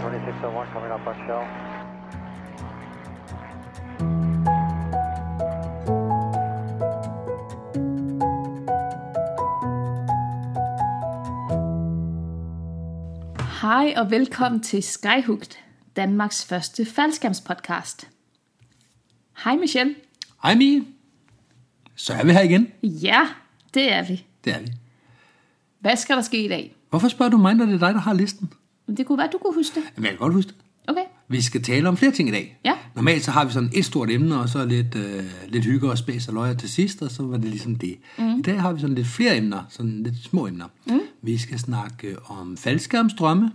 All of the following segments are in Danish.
2601 coming up on shell. Hej og velkommen til Skyhooked, Danmarks første faldskærmspodcast. Hej Michelle. Hej Mie. Så er vi her igen. Ja, det er vi. Det er vi. Hvad skal der ske i dag? Hvorfor spørger du mig, når det er dig, der har listen? Men Det kunne være, du kunne huske det. Jamen, jeg kan godt huske det. Okay. Vi skal tale om flere ting i dag. Ja. Normalt så har vi sådan et stort emne, og så lidt, øh, lidt hygge og spæs og løjer til sidst, og så var det ligesom det. Mm. I dag har vi sådan lidt flere emner, sådan lidt små emner. Mm. Vi skal snakke øh, om faldskærmsdrømme.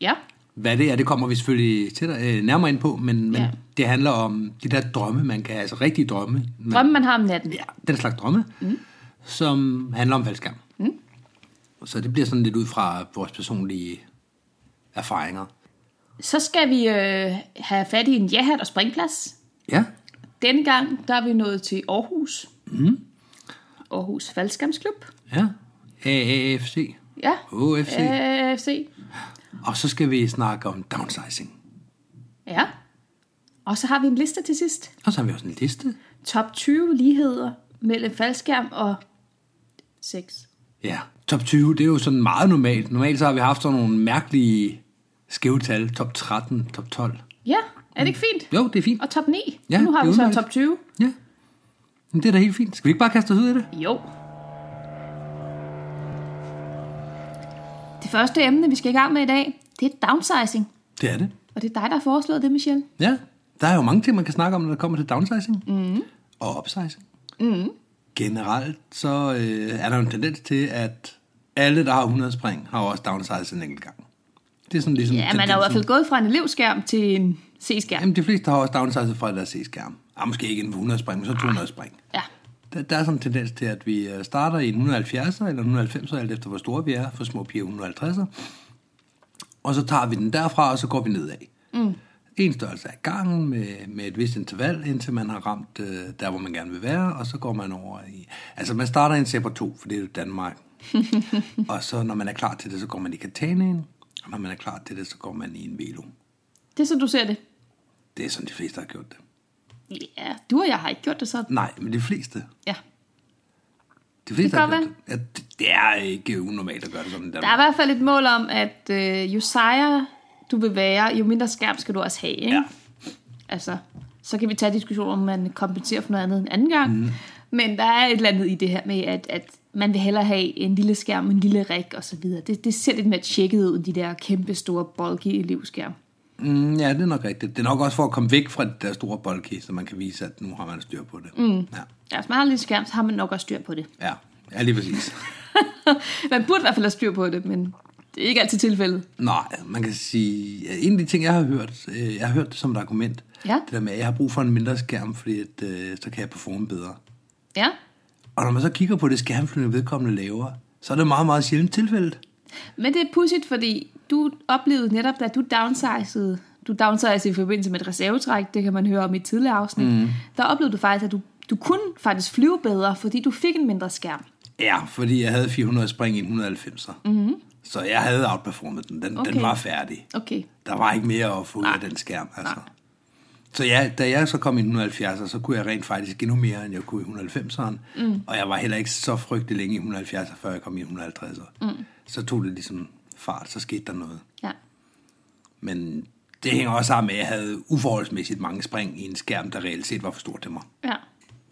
Ja. Hvad det er, det kommer vi selvfølgelig til dig, øh, nærmere ind på, men, men Ja. det handler om de der drømme, man kan, altså rigtige drømme. Man, Drømmen, man har om natten. ja, den slags drømme, mm. som handler om faldskærm. Mm. Så det bliver sådan lidt ud fra vores personlige erfaringer. Så skal vi øh, have fat i en jahat og springplads. Ja, Denne gang, der er vi nået til Aarhus. Mm. Aarhus Faldskærmsklub. ja. AAFC. Ja. Øh, OFC. AFC. Og så skal vi snakke om downsizing. Ja. Og så har vi en liste til sidst. Og så har vi også en liste. Top 20 ligheder mellem faldskærm og sex. Ja, top 20, det er jo sådan meget normalt. Normalt så har vi haft sådan nogle mærkelige skæve tal. Top 13, top 12. Ja, er det ikke fint? Jo, det er fint. Og top 9. Ja, nu har det er vi så udmærket. top 20. Ja, Men det er da helt fint. Skal vi ikke bare kaste os ud i det? Jo. Det første emne, vi skal i gang med i dag, det er downsizing. Det er det. Og det er dig, der har foreslået det, Michelle. Ja, der er jo mange ting, man kan snakke om, når det kommer til downsizing Mhm. mm. og upsizing. Mm. Generelt så øh, er der jo en tendens til, at alle, der har 100 spring, har jo også downsized en enkelt gang. Det er sådan ligesom Ja, man er jo i hvert fald gået fra en elevskærm til en C-skærm. Jamen, de fleste har også downsized fra deres C-skærm. Ah, måske ikke en 100 spring, men så 200 spring. Ja. Der, der er sådan en tendens til, at vi øh, starter i en 170'er eller 190'er, alt efter hvor store vi er, for små piger 150'er. Og så tager vi den derfra, og så går vi nedad. Mm. En størrelse af gangen med, med et vist interval, indtil man har ramt øh, der, hvor man gerne vil være, og så går man over i... Altså, man starter i en Zebra 2, for det er jo Danmark. og så, når man er klar til det, så går man i Katanaen, og når man er klar til det, så går man i en Velo. Det er sådan, du ser det. Det er sådan, de fleste har gjort det. Ja, du og jeg har ikke gjort det sådan. Nej, men de fleste. Ja. De fleste kan har godt gjort det. Ja, det. det er ikke unormalt at gøre det sådan i Danmark. Der er i hvert fald et mål om, at øh, jo sejere du vil være, jo mindre skærm skal du også have. Ikke? Ja. Altså, så kan vi tage diskussion om man kompenserer for noget andet en anden gang. Mm. Men der er et eller andet i det her med, at, at man vil hellere have en lille skærm, en lille rig og så videre. Det, det ser lidt mere tjekket ud, end de der kæmpe store, bulky elevskærm. Mm, ja, det er nok rigtigt. Det er nok også for at komme væk fra det der store bolke, så man kan vise, at nu har man styr på det. Mm. Ja, Ja, hvis man har en lille skærm, så har man nok også styr på det. ja, ja, lige præcis. man burde i hvert fald have styr på det, men det er ikke altid tilfældet. Nej, man kan sige, at en af de ting, jeg har hørt, øh, jeg har hørt det som et argument, Ja. det der med, at jeg har brug for en mindre skærm, fordi at, øh, så kan jeg performe bedre. Ja. Og når man så kigger på det skærmflyvning, vedkommende laver, så er det meget, meget sjældent tilfældet. Men det er pudsigt, fordi du oplevede netop, da du downsizede, du downsizede i forbindelse med et reservetræk, det kan man høre om i et tidligere afsnit, Mhm. mm. der oplevede du faktisk, at du, du kunne faktisk flyve bedre, fordi du fik en mindre skærm. Ja, fordi jeg havde 400 spring i en 190'er. Mm-hmm. Så jeg havde outperformet den. Den, okay. Mhm. Okay. den var færdig. Okay. Der var ikke mere at få ud af den skærm, altså. Så ja, da jeg så kom i 170'er, så kunne jeg rent faktisk endnu mere, end jeg kunne i 190'eren. Mm. Og jeg var heller ikke så frygtelig længe i 170'er, før jeg kom i 150'er. Mm. Så tog det ligesom fart, så skete der noget. Ja. Men det hænger også sammen med, at jeg havde uforholdsmæssigt mange spring i en skærm, der reelt set var for stor til mig. ja.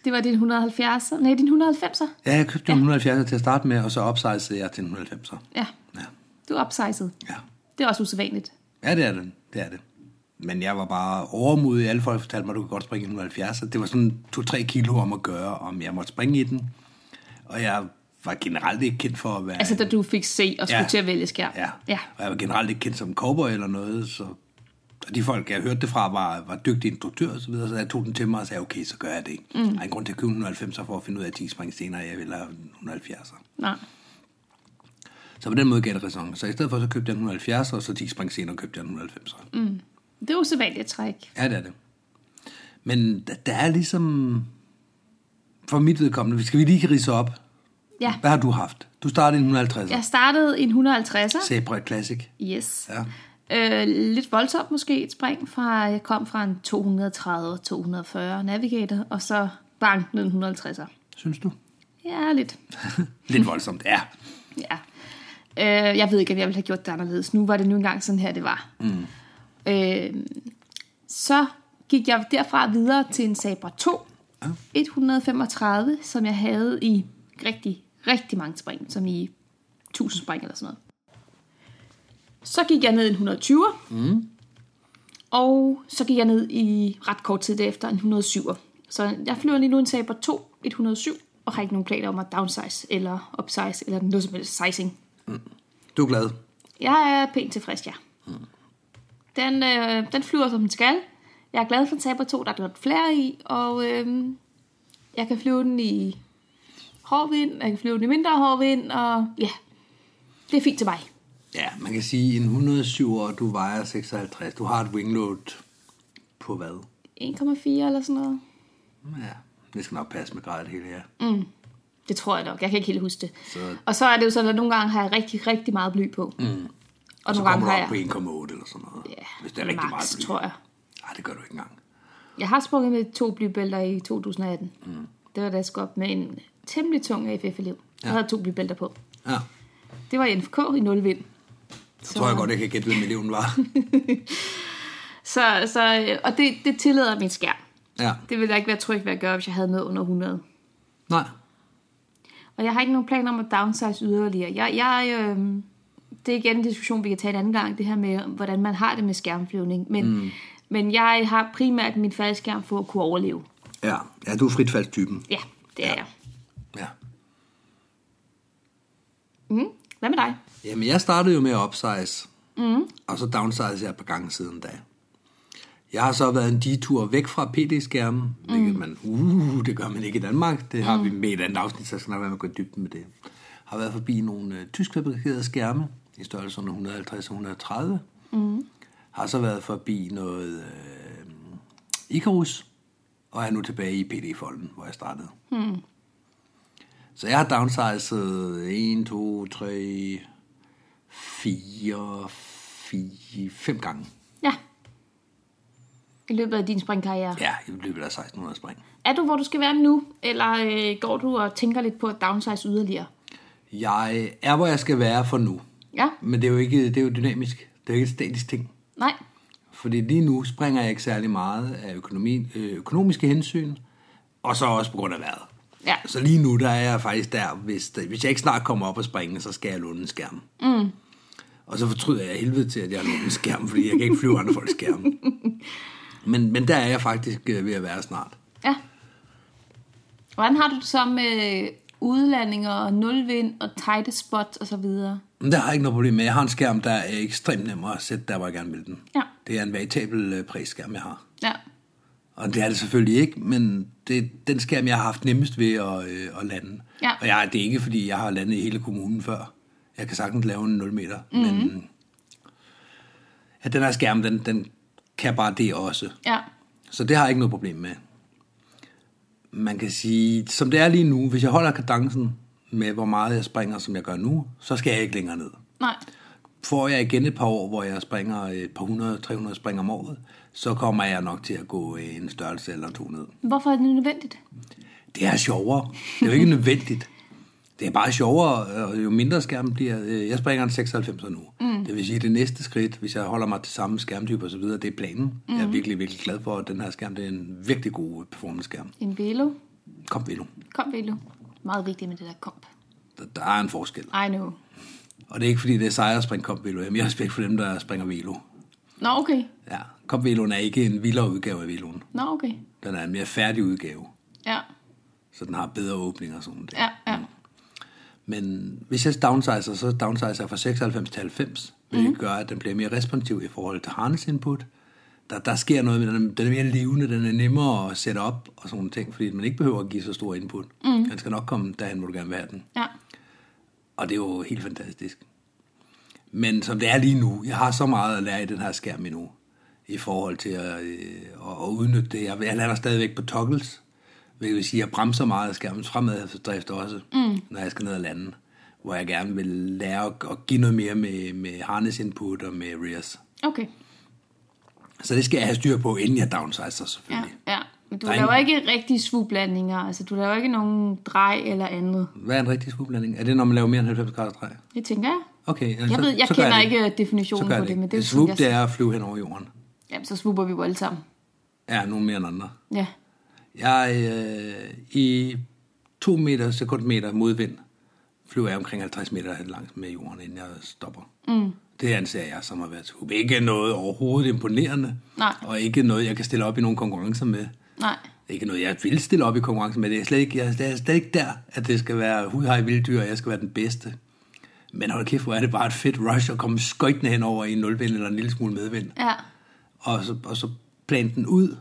Det var din 170, nej, din 190'er. Ja, jeg købte en 170'er til at starte med, og så opsejlede jeg til en 190'er. Ja, Ja, du opsizede. ja. Det er også usædvanligt. Ja, det er det. Det er det. Men jeg var bare overmodig. Alle folk fortalte mig, at du kan godt springe i 170. Så det var sådan 2-3 kilo om at gøre, om jeg måtte springe i den. Og jeg var generelt ikke kendt for at være... Altså, da du fik C og skulle ja. Ja. til at vælge skærm. ja. ja. Og jeg var generelt ikke kendt som cowboy eller noget, så... Og de folk, jeg hørte det fra, var, var dygtige instruktører og så videre, så jeg tog den til mig og sagde, okay, så gør jeg det. Mm. Der er en grund til at købe en 190 for at finde ud af, at 10 spring senere, jeg vil have en 170'er. Nej. Så på den måde gav det ræson. Så i stedet for, så købte jeg en 170, og så 10 spring senere købte jeg en 190. Mm. Det er usædvanligt at trække. Ja, det er det. Men der, der er ligesom... For mit vedkommende, skal vi lige rise op. Ja. Hvad har du haft? Du startede i en 150'er. Jeg startede i en 150'er. Zebra Classic. Yes. Ja. Øh, lidt voldsomt måske et spring fra, jeg kom fra en 230-240 Navigator, og så bang, ned en 150'er. synes du? Ja, lidt. Lidt voldsomt, ja. Ja. Øh, jeg ved ikke, om jeg ville have gjort det anderledes. Nu var det nu engang sådan her, det var. Mm. Øh, så gik jeg derfra videre til en Sabre 2. Ja. 135, som jeg havde i rigtig, rigtig mange spring. Som i 1000 spring eller sådan noget. Så gik jeg ned i en 120. Mm. Og så gik jeg ned i ret kort tid derefter en 107. Så jeg flyver lige nu en Sabre 2, 107 og har ikke nogen planer om at downsize eller upsize eller noget som helst sizing. Du er glad. Jeg er pænt tilfreds, ja. Den, øh, den flyver, som den skal. Jeg er glad for en Sabre 2, der er godt flere i, og øh, jeg kan flyve den i hård vind, jeg kan flyve den i mindre hård vind, og ja, det er fint til mig. Ja, man kan sige, en 107 år, du vejer 56. Du har et wingload på hvad? 1,4 eller sådan noget. Ja, det skal nok passe med gradet hele her. Det tror jeg nok, jeg kan ikke helt huske det. Så- Så... Og så er det jo sådan, at nogle gange har jeg rigtig, rigtig meget bly på. Mm. Og, Og så nogle gange kommer har du op jeg... på 1,8 eller sådan noget. Ja, hvis det er rigtig max, meget bly. tror jeg. Nej, det gør du ikke engang. Jeg har sprunget med to blybælter i 2018. Mm. Det var da jeg skulle op med en temmelig tung AFF-elev. Ja. Jeg havde to blybælter på. Ja, Det var i NFK i 0 vind. så tror jeg godt, jeg kan gætte, hvem eleven var. Så, så, øh, og det, det tillader min skærm. Ja, Det ville jeg ikke være tryg ved at gøre, hvis jeg havde noget under 100. nej. Og jeg har ikke nogen planer om at downsize yderligere. Jeg, jeg, øh, det er igen en diskussion, vi kan tage en anden gang, det her med, hvordan man har det med skærmflyvning. Men, mm. men jeg har primært min faldskærm for at kunne overleve. Ja, ja du er fritfaldstypen. Ja, det er ja. jeg. Ja. Mm. Hvad med dig? Jamen, jeg startede jo med at upsize, mm. og så downsize jeg et par gange siden da. Jeg har så været en detur væk fra PD-skærmen, hvilket man, uh, det gør man ikke i Danmark. Det har mm. vi med i et andet afsnit, så skal nok være, man går i dybden med det. Har været forbi nogle øh, tyskfabrikerede skærme, i størrelse 150 og 130. Mm. Har så været forbi noget øh, Icarus, og er nu tilbage i PD-folden, hvor jeg startede. Så jeg har downsized 1, 2, 3, 4, 4, 5 gange. Ja. I løbet af din springkarriere. Ja. Ja, i løbet af 1600 spring. Er du, hvor du skal være nu, eller øh, går du og tænker lidt på at downsize yderligere? Jeg er, hvor jeg skal være for nu. Ja, Men det er jo ikke det er jo dynamisk. Det er jo ikke et statisk ting. nej. Fordi lige nu springer jeg ikke særlig meget af økonomi, øh, økonomiske hensyn, og så også på grund af vejret. Ja, Så lige nu, der er jeg faktisk der, hvis, hvis jeg ikke snart kommer op og springe, så skal jeg låne en skærm. Mm. Og så fortryder jeg helvede til, at jeg har lånt en skærm, fordi jeg kan ikke flyve andre folks skærme. Men, men der er jeg faktisk øh, ved at være snart. ja. Hvordan har du det så med øh, udlandinger og nulvind og tight spots og så videre? Men der har jeg ikke noget problem med. Jeg har en skærm, der er ekstremt nem at sætte der, hvor jeg gerne vil den. Ja. Det er en veritabel øh, prisskærm, jeg har. Ja, Og det er det selvfølgelig ikke, men det er den skærm, jeg har haft nemmest ved at, øh, at lande. Ja. Og jeg, det er ikke, fordi jeg har landet i hele kommunen før. Jeg kan sagtens lave en 0 meter, mm-hmm. Mhm. men at den her skærm, den, den kan bare det også. ja, Så det har jeg ikke noget problem med. Man kan sige, som det er lige nu, hvis jeg holder kadencen med, hvor meget jeg springer, som jeg gør nu, så skal jeg ikke længere ned nej. får jeg igen et par år, hvor jeg springer et par hundrede, 300 springer om året, så kommer jeg nok til at gå øh, en størrelse eller to ned. Hvorfor er det nødvendigt? Det er sjovere. Det er jo ikke nødvendigt. Det er bare sjovere, øh, og jo mindre skærm bliver... øh, Jeg springer en 96 nu. Mm. Det vil sige, at det næste skridt, hvis jeg holder mig til samme skærmtype og så videre, det er planen. Mm. Jeg er virkelig, virkelig glad for, at den her skærm det er en virkelig god performance-skærm. En velo. Kom, Velo. Kom, velo. Meget vigtigt med det der komp. Der, der er en forskel. I know. Og det er ikke, fordi det er sejere at springe Kom, Velo. Jeg har mere respekt for dem, der springer Velo. Nå, okay. Ja, Kom, Veloen er ikke en vildere udgave af Veloen. Nå, okay. Den er en mere færdig udgave, Ja, så den har bedre åbninger og sådan noget. ja, ja. Men hvis jeg downsizer, så downsizer jeg fra 96 til 90, hvilket mm. gør, at den bliver mere responsiv i forhold til harness input. Der, der sker noget med den, den er mere levende, den er nemmere at sætte op og sådan nogle ting, fordi man ikke behøver at give så stor input. Mm. Den skal nok komme derhen, hvor du gerne vil have den. Ja, Og det er jo helt fantastisk. Men som det er lige nu, jeg har så meget at lære i den her skærm endnu, i forhold til at, øh, at, at udnytte det. Jeg, jeg lander stadigvæk på toggles, hvilket vil sige, at jeg bremser meget af skærmens fremaddrift også, mm. når jeg skal ned og lande, hvor jeg gerne vil lære at, at give noget mere med, med harness input og med rears. Okay. Så det skal jeg have styr på, inden jeg downsizer Ja, selvfølgelig. ja. Men du Der er laver ikke rigtige svublandinger. Altså, du laver ikke nogen drej eller andet. Ja. Hvad er en rigtig svublanding? Er det, når man laver mere end 90 grader drej? Det tænker jeg. Okay, Jeg, ved, jeg kender ikke øh, definitionen på det, men det, Swoop, tænker det jeg, er at flyve hen over jorden. jamen, så swooper vi jo alle sammen. Ja, nogen mere end andre. Ja. Jeg øh, i 2 meter sekundmeter modvind flyver jeg omkring 50 meter langs med jorden, inden jeg stopper. Mm. Det anser jeg som at være tub. Ikke noget overhovedet imponerende, Nej. og ikke noget, jeg kan stille op i nogle konkurrencer med. Nej. Ikke noget, jeg vil stille op i konkurrencer med. Det er slet ikke, jeg, jeg er slet ikke der, at det skal være hudhej vilddyr, og jeg skal være den bedste. Men hold kæft, hvor er det bare et fedt rush at komme skøjtende hen over i en nulvind eller en lille smule medvind Ja. og så, og så plante den ud,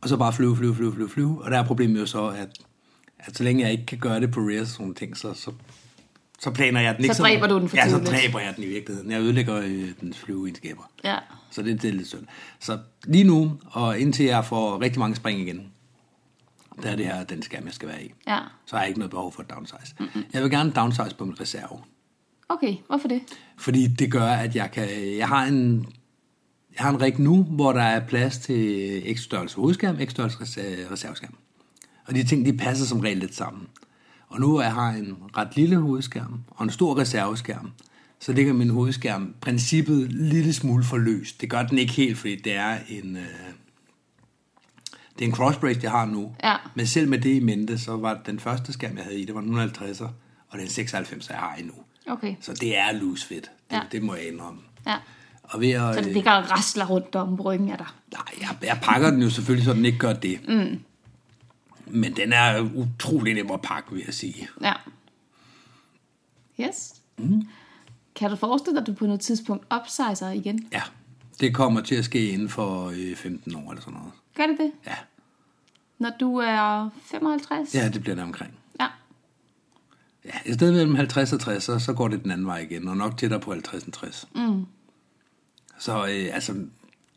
og så bare flyve, flyve, flyve, flyve, flyve. Og der er problemet jo så, at, at så længe jeg ikke kan gøre det på rears og sådan nogle ting, så, så, så planer jeg den ikke. Så dræber meget. du den for Ja, så tidligt. dræber jeg den i virkeligheden. Jeg ødelægger øh, dens flyveegenskaber. Ja. Så det, det er lidt synd. Så lige nu, og indtil jeg får rigtig mange spring igen, der er det her, den skærm, jeg skal være i. Ja. Så har jeg ikke noget behov for at downsize. Mm-hmm. Jeg vil gerne downsize på min reserve. Okay, hvorfor det? Fordi det gør, at jeg kan... Jeg har en, jeg har en rig nu, hvor der er plads til x størrelse hovedskærm, x størrelse res- reserveskærm. Og de ting, de passer som regel lidt sammen. Og nu jeg har en ret lille hovedskærm og en stor reserveskærm, så ligger min hovedskærm princippet en lille smule for løs. Det gør den ikke helt, fordi det er en... Øh, det er en crossbreak, jeg har nu. Ja. Men selv med det i mente, så var den første skærm, jeg havde i, det var en 150'er, og den 96, jeg har endnu. Okay. Så det er loose fit. Det, Ja. ja. det må jeg indrømme. Ja. Og ved at, øh, Så det ligger og rasler rundt om ryggen af dig. nej, jeg, jeg pakker den jo selvfølgelig, så den ikke gør det. Mm. Men den er utrolig nem at pakke, vil jeg sige. Ja. Yes. Mm. Kan du forestille dig, at du på noget tidspunkt upsizer igen? Ja, det kommer til at ske inden for øh, 15 år eller sådan noget. Gør det det? Ja, Når du er 55? ja det bliver der omkring. ja. Ja, I stedet mellem 50 og 60, så, så går det den anden vej igen, og nok tættere på 50 end 60. Mm. Så øh, altså,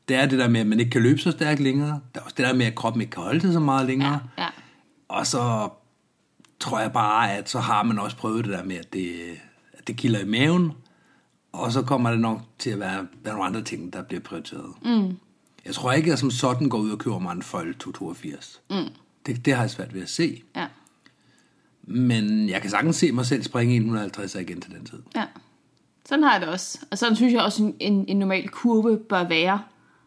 det er det der med, at man ikke kan løbe så stærkt længere. Der er også det der med, at kroppen ikke kan holde til så meget længere. Ja. ja. Og så tror jeg bare, at så har man også prøvet det der med, at det, at det kilder i maven, og så kommer det nok til at være, være nogle andre ting, der bliver prioriteret. Mm. Jeg tror ikke, at jeg som sådan går ud og køber mig en Fold 282. Mm. Det, det har jeg svært ved at se. ja. Men jeg kan sagtens se mig selv springe i en 150 igen til den tid. Ja. Sådan har jeg det også. Og sådan synes jeg også, en, en, en normal kurve bør være.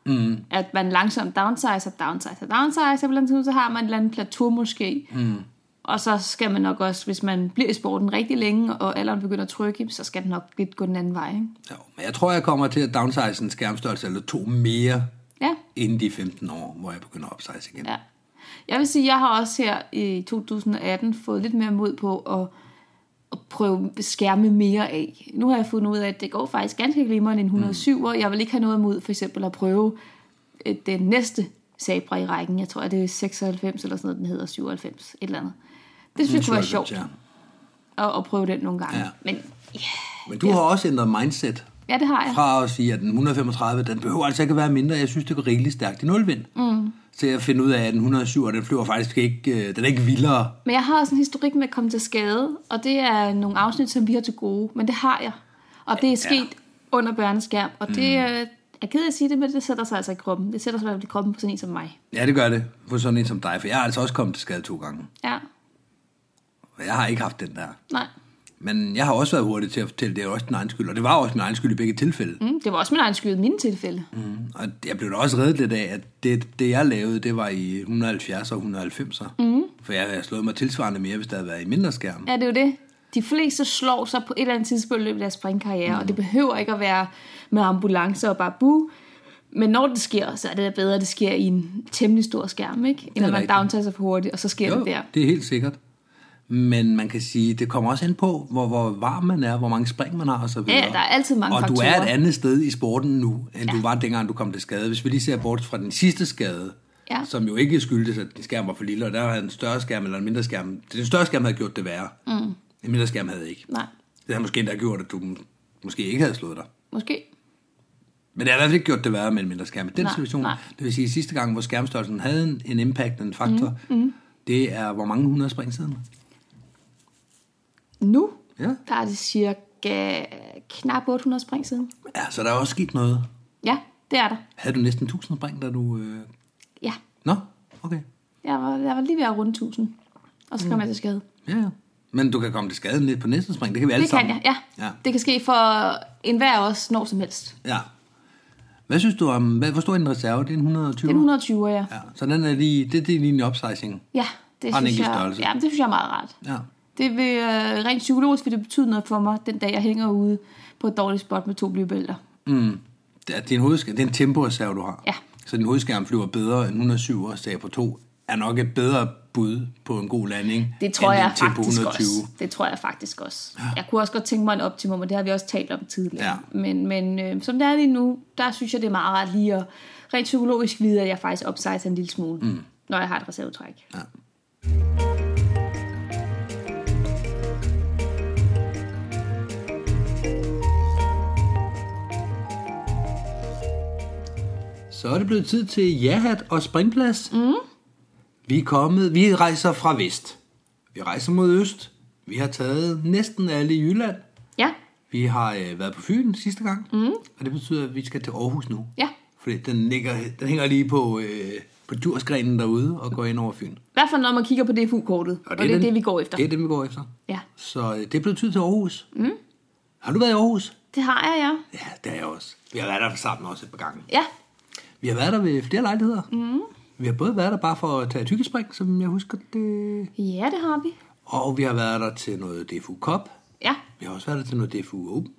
Mm. At man langsomt downsizer, downsizer, downsizer. På et eller andet tidspunkt, så har man et eller andet plateau måske. Mm. Og så skal man nok også, hvis man bliver i sporten rigtig længe, og alderen begynder at trykke, så skal den nok lidt gå den anden vej. Ikke? Jo, men jeg tror, jeg kommer til at downsize en skærmstørrelse eller to mere Ja, inden de 15 år, hvor jeg begynder at upsize igen. Ja. Jeg vil sige, at jeg har også her i 2018 fået lidt mere mod på at, at prøve skærme mere af. Nu har jeg fundet ud af, at det går faktisk ganske glimrende en Mm. 107, og jeg vil ikke have noget imod for eksempel at prøve øh, den næste Sabra i rækken. Jeg tror, at det er 96 eller sådan noget, den hedder 97, et eller andet. Det synes jeg kunne være sjovt Ja. at, at prøve den nogle gange. Ja. Men Men du har også ændret mindset. ja, det har jeg. fra at sige, at den 135, den behøver altså ikke at være mindre. Jeg synes, det går rigeligt stærkt i nulvind. Mm. Så jeg finder ud af, at den 107, den flyver faktisk ikke, øh, den er ikke vildere. Men jeg har også en historik med at komme til skade, og det er nogle afsnit, som vi har til gode, men det har jeg. Og det er sket ja. under børneskærm, og det mm. jeg er ked af at sige det, men det sætter sig altså i kroppen. Det sætter sig i hvert fald i kroppen på sådan en som mig. Ja, det gør det for sådan en som dig, for jeg har altså også kommet til skade to gange. Ja, Og jeg har ikke haft den der. nej. Men jeg har også været hurtig til at fortælle, at det er også din egen skyld, og det var også min egen skyld i begge tilfælde. Mm, det var også min egen skyld i mine tilfælde. Mm. Mm. Og jeg blev da også reddet lidt af, at det, det jeg lavede, det var i 170 og 190. Mm. For jeg havde slået mig tilsvarende mere, hvis der havde været i mindre skærm. Ja, det er jo det. De fleste slår sig på et eller andet tidspunkt i løbet af deres springkarriere, mm. og det behøver ikke at være med ambulancer og bare bu. Men når det sker, så er det da bedre, at det sker i en temmelig stor skærm, ikke? End at man rigtigt. downtager sig for hurtigt, og så sker Jo, det der. det er helt sikkert. Men man kan sige, det kommer også an på, hvor, hvor varm man er, hvor mange spring man har og så videre. Ja, der er altid mange Og faktorer. du er et andet sted i sporten nu, end Ja. du var dengang, du kom til skade. Hvis vi lige ser bort fra den sidste skade, Ja. som jo ikke skyldtes, at din skærm var for lille, og der havde en større skærm eller en mindre skærm. Den større skærm havde gjort det værre. Mm. En mindre skærm havde ikke. Nej, Det havde måske endda gjort, at du måske ikke havde slået dig. måske. Men det har i hvert fald ikke gjort det værre med en mindre skærm. I den Nej, situation, nej. det vil sige sidste gang, hvor skærmstørrelsen havde en, en impact, en faktor, mm. Mm. det er hvor mange hundrede spring siden? Nu Ja. der er det cirka knap 800 spring siden. Ja, så der er også sket noget. Ja, det er der. Havde du næsten 1000 spring, da du... Øh... Ja, Nå, okay. jeg var, jeg var lige ved at runde 1000. Og så kom mm. jeg til skade. Ja, ja. Men du kan komme til skaden lidt på næste spring. Det kan vi alle Det kan sammen. jeg, ja. ja. Det kan ske for enhver af os, når som helst. Ja. Hvad synes du om... Hvad, hvor stor er din reserve? Det er en 120? Det er en 120, ja. Ja, så den er lige, det, det er lige en opsizing. Ja, det Og en synes, enkelt jeg, størrelse. ja, det synes jeg er meget rart. Ja. Det vil, øh, rent psykologisk vil det betyde noget for mig, den dag jeg hænger ude på et dårligt spot med to blybælter. Mm. Det, er, det, er en hovedskærm, det er en temporeserve, du har. Ja. Så din hovedskærm flyver bedre end 107 og sag på 2 er nok et bedre bud på en god landing. Det tror end jeg en tempo faktisk 120. også. Det tror jeg faktisk også. Ja. Jeg kunne også godt tænke mig en optimum, og det har vi også talt om tidligere. Ja. Men, men øh, som det er lige nu, der synes jeg, det er meget rart lige at rent psykologisk vide, at jeg faktisk upsizer en lille smule, mm. når jeg har et reservetræk. Ja. Så er det blevet tid til jahat og springplads. Mm. Vi er kommet, vi rejser fra vest. Vi rejser mod øst. Vi har taget næsten alle i Jylland. Ja, Vi har øh, været på Fyn sidste gang, mm. og det betyder, at vi skal til Aarhus nu. Ja. Fordi den, ligger, den hænger lige på, øh, på Djursgrenen derude og går ind over Fyn. i hvert fald når man kigger på DFU-kortet, og det, og det er den- det, vi går efter. Det er det, vi går efter. Ja, Så øh, det blev tid til Aarhus. Mm. Har du været i Aarhus? det har jeg, ja. Ja, det har jeg også. Vi har været der sammen også et par gange. Ja, Vi har været der ved flere lejligheder. Mm. Vi har både været der bare for at tage tykkespring, som jeg husker det. ja det har vi. Og vi har været der til noget DFU Cup. Ja. Vi har også været der til noget DFU Open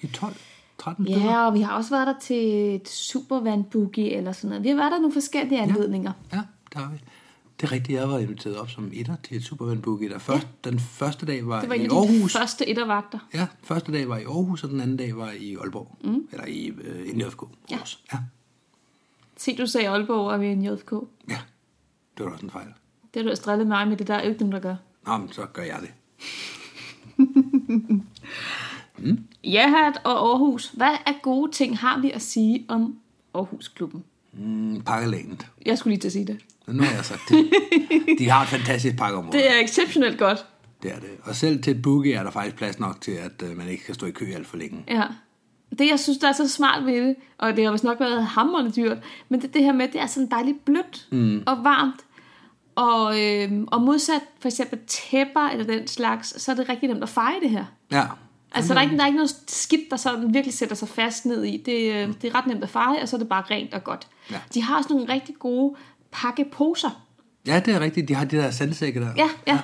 i 12, 13 stykker. Ja, og vi har også været der til et supervandboogie eller sådan noget. Vi har været der nogle forskellige anledninger. Ja, der har vi. Det er rigtigt, jeg var inviteret op som etter til et Superman Boogie. Der først, ja. Den første dag var, Det var i en af de Aarhus. første ettervagter. Ja, første dag var i Aarhus, og den anden dag var i Aalborg. Mm. Eller i øh, NFK. Ja. Aarhus. Ja. Se, du sagde Aalborg, og vi er en JFK. ja, det var da også en fejl. Det har du også drillet mig med, det der er jo ikke dem, der gør. Nå, men så gør jeg det. Jahat og Aarhus. Hvad af gode ting har vi at sige om Aarhusklubben? Mm, pakkelænet. Jeg skulle lige til at sige det. Nu har jeg sagt det. De har et fantastisk pakkeområde. Det Det... er exceptionelt godt. det er det. Og selv til et boogie er der faktisk plads nok til, at øh, man ikke skal stå i kø alt for længe. Ja. Det, jeg synes, der er så smart ved det, og det har vist nok været hammerende dyrt, men det, det her med, det er sådan dejligt blødt mm. og varmt, og, øhm, og modsat for eksempel tæpper eller den slags, så er det rigtig nemt at feje det her. Ja, Altså, Mm. der er, ikke, der er ikke noget skidt, der sådan virkelig sætter sig fast ned i. Det, øh, det er ret nemt at feje, og så er det bare rent og godt. Mm. Ja. De har også nogle rigtig gode pakkeposer. ja det er rigtigt. De har de der sandsække der. Ja, ja.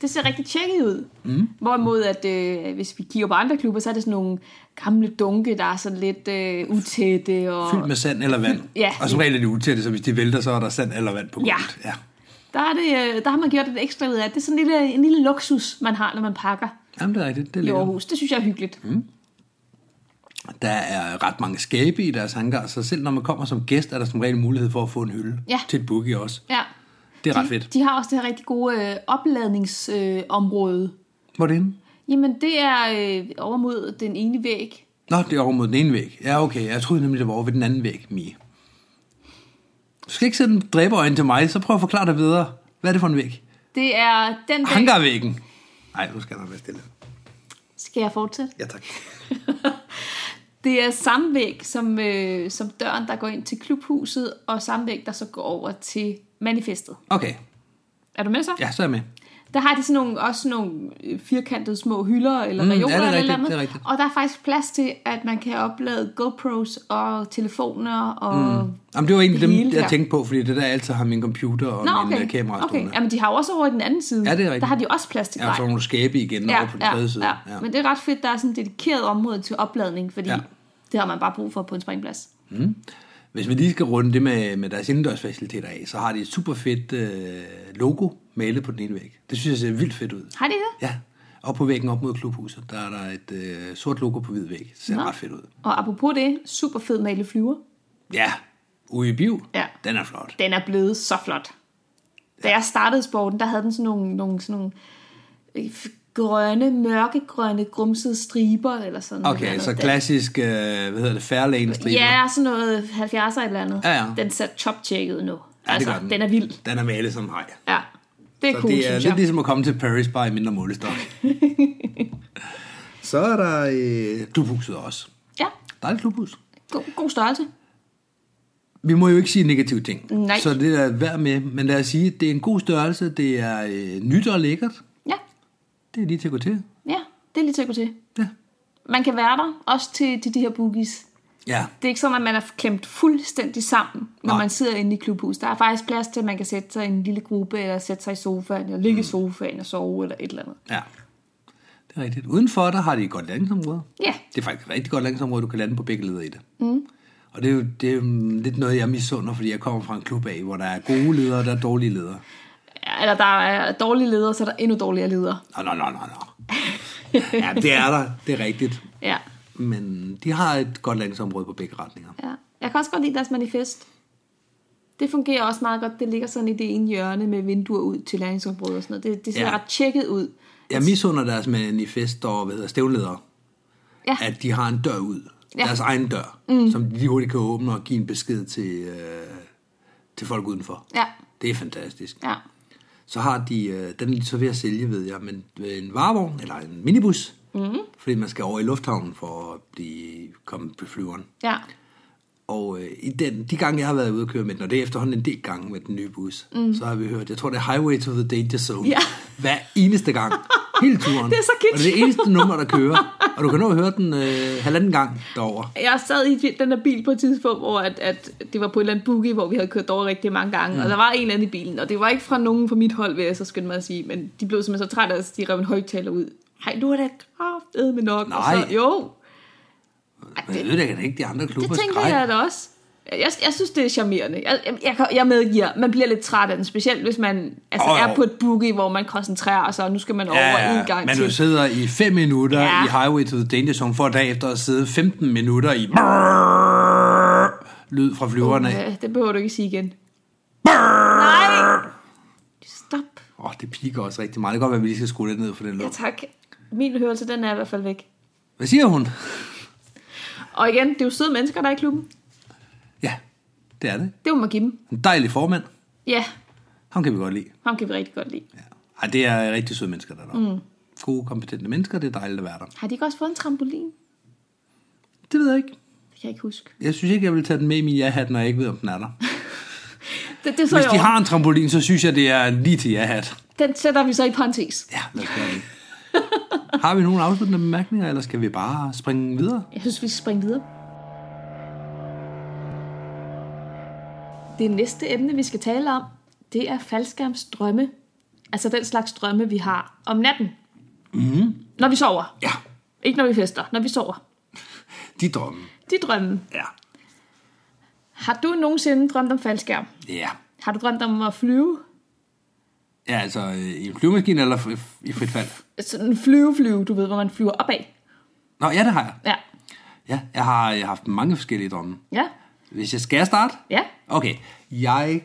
Det ser rigtig tjekket ud. Mm. Hvorimod, at øh, hvis vi kigger på andre klubber, så er det sådan nogle gamle dunke, der er sådan lidt øh, utætte. Og Fyldt med sand eller vand. Ja. Og som regel er de utætte, så hvis de vælter, så er der sand eller vand på Ja. gulvet. Ja. der, er det, øh, der har man gjort et ekstra ud af. Det er sådan en lille, en lille luksus, man har, når man pakker Jamen, det er rigtigt. Det er i lækkert. Aarhus. Det synes jeg er hyggeligt. Mm. Der er ret mange skabe i deres hangar, så selv når man kommer som gæst, er der som regel mulighed for at få en hylde Ja. til et boogie også. Ja. Det er ret De, fedt. de har også det her rigtig gode øh, opladningsområde. Øh, område. Hvor er det henne? Jamen, det er øh, over mod den ene væg. Nå, det er over mod den ene væg. Ja, okay. Jeg troede nemlig, det var over ved den anden væg, Mie. Du skal ikke sætte en dræberøjne til mig, så prøv at forklare dig videre. Hvad er det for en væg? Det er den væg. Hangarvæggen. Nej, nu skal jeg nok være stille. Skal jeg fortsætte? Ja, tak. Det er samme væg som, øh, som døren, der går ind til klubhuset, og samme væg, der så går over til manifestet. Okay, Er du med så? ja, så er jeg med. Der har de sådan nogle, også nogle øh, firkantede små hylder eller Mm, mm, ja, reoler det eller er et rigtigt, eller andet. det er rigtigt. Og der er faktisk plads til, at man kan oplade GoPros og telefoner og... Mm. Jamen, det var egentlig Det dem, hele jeg der. tænkte på, fordi det der altid har min computer og Nå, min okay. øh, kamera okay. stående. Jamen, de har jo også over i den anden side. Ja, det er rigtigt. Der har de også plads til Ja, så grej. er nogle skabe igen ja, over på den tredje side. ja. Men det er ret fedt, der er sådan et dedikeret område til opladning, fordi Ja. ja. det har man bare brug for på en springplads. Hvis vi lige skal runde det med, med deres indendørsfaciliteter af, så har de et super fedt øh, logo malet på den ene væg. Det synes jeg ser vildt fedt ud. Har de det? Ja, og på væggen op mod klubhuset, der er der et øh, sort logo på hvid væg. Det ser Nå. ret fedt ud. Og apropos det, super fed male flyver. Ja, ude i Biv, Ja. den er flot. Den er blevet så flot. Da jeg startede sporten, der havde den sådan nogle, nogle, sådan nogle øh, grønne, mørkegrønne, grumsede striber eller sådan et eller Okay, andet. så Den- klassisk, øh, hvad hedder det, Fairlane-striber. Ja, sådan noget 70'er eller andet. Ja, ja. Den ser toptjekket ud nu. Altså, Ja, det gør den. den er vild. Den er malet som hej. Ja, det er Så cool, det er synes lidt jeg. ligesom at komme til Paris bare i mindre målestok. så er der øh, klubhuset også. Ja, ligesom- Der er et klubhus. God, god størrelse. Vi må jo ikke sige negative ting, Nej. så det er værd med. Men lad os sige, det er en god størrelse, det er øh, nyt og lækkert. Ja, Det er lige til at gå til. ja, det er lige til at gå til. Ja. Man kan være der, også til, til de her boogies. ja. Det er ikke sådan, at man er klemt fuldstændig sammen, når Nej. Nej. man sidder inde i klubhus. Der er faktisk plads til, at man kan sætte sig i en lille gruppe, eller sætte sig i sofaen, eller Mm. ligge i sofaen og sove, eller et eller andet. Ja, det er rigtigt. Udenfor, der har de et godt landingsområde. Ja. Det er faktisk et rigtig godt landingsområde, du kan lande på begge leder i det. Mm. Og det er, jo, det er jo lidt noget, jeg misunder, fordi jeg kommer fra en klub af, hvor der er gode ledere, og der er dårlige ledere. Ja, Eller der er dårlige ledere, så er der endnu dårligere ledere. Nå, nå, nå, nå, nå. Ja, det er der. Det er rigtigt. Ja. Men de har et godt landingsområde på begge retninger. ja. Jeg kan også godt lide deres manifest. Det fungerer også meget godt. Det ligger sådan i det ene hjørne med vinduer ud til landingsområdet og sådan noget. Det, det ser Ja. ja. ret tjekket ud. Jeg misunder deres manifest og hvad hedder, stævnledere, Ja, at de har en dør ud. Ja. Ja. Deres egen dør, mm. som de lige hurtigt kan åbne og give en besked til, øh, til folk udenfor. ja, Det er fantastisk. ja. Så har de, øh, den er lige så ved at sælge, ved jeg, men øh, en varevogn eller en minibus, Mm. mm-hmm. fordi man skal over i lufthavnen for at blive, komme på flyveren. ja. Og øh, i den, de gange, jeg har været ude at køre med den, og det er efterhånden en del gange med den nye bus, mm. så har vi hørt, jeg tror, det er Highway to the Danger Zone. Ja. Hver eneste gang. Hele turen. Det er så Og det er det eneste nummer, der kører. Og du kan nå at høre den øh, halvanden gang derover. Jeg sad i den der bil på et tidspunkt, hvor at, at det var på et eller andet boogie, hvor vi havde kørt over rigtig mange gange, mm. og der var en eller anden i bilen, og det var ikke fra nogen fra mit hold, vil jeg så skynde mig at sige, men de blev simpelthen så trætte af, at de rev en højtaler ud. Hej, du er da kraftedeme nok. Og Nej. så, jo, Men jeg ved da ikke, de andre klubber Det tænker jeg da også. Jeg, jeg synes, det er charmerende. Jeg, jeg, jeg, kan- jeg medgiver, man bliver lidt træt af den, specielt hvis man altså, Åh, oh, jo. er på et boogie, hvor man koncentrerer sig, og nu skal man over Ja, en gang men du til. sidder i 5 minutter ja. Ja. i Highway to the Danger Zone, for derefter at sidde 15 minutter i lyd fra flyverne. Åh, Ja, det behøver du ikke sige igen. Nej! Stop. oh, det piker også rigtig meget. Det kan godt være, at vi lige skal skrue lidt ned for den Ja, lyd. tak. Min hørelse, den er i hvert fald væk. Hvad siger hun? Og igen, det er jo søde mennesker, der er i klubben. Ja, det er det. Det må man give dem. En dejlig formand. Ja, Ham kan vi godt lide. ham kan vi rigtig godt lide. Ja. Ej, det er rigtig søde mennesker, der er der. Mm. Gode, kompetente mennesker, det er dejligt at være der. Har de ikke også fået en trampolin? Det ved jeg ikke. Det kan jeg ikke huske. Jeg synes ikke, jeg vil tage den med i min ja-hat, når jeg ikke ved, om den er der. Det, det så jeg Hvis de over. har en trampolin, så synes jeg, det er lige til ja-hat. Den sætter vi så i parentes. Ja, lad os gøre det. Har vi nogle afsluttende bemærkninger, eller skal vi bare springe videre? Jeg synes, vi skal springe videre. Det næste emne, vi skal tale om, det er faldskærmsdrømme. Altså den slags drømme, vi har om natten. Mm. Mhm. Når vi sover. Ja, Ikke når vi fester. Når vi sover. de drømme. De drømme. Ja. Har du nogensinde drømt om faldskærm? Ja. Har du drømt om at flyve? Ja, altså øh, i en flyvemaskine eller f- f- i frit fald? Sådan flyve, flyve, du ved, hvor man flyver opad. Nå, ja, det har jeg. Ja. Ja, jeg har øh, haft mange forskellige drømme. Ja. Hvis jeg skal starte? Ja. Okay, jeg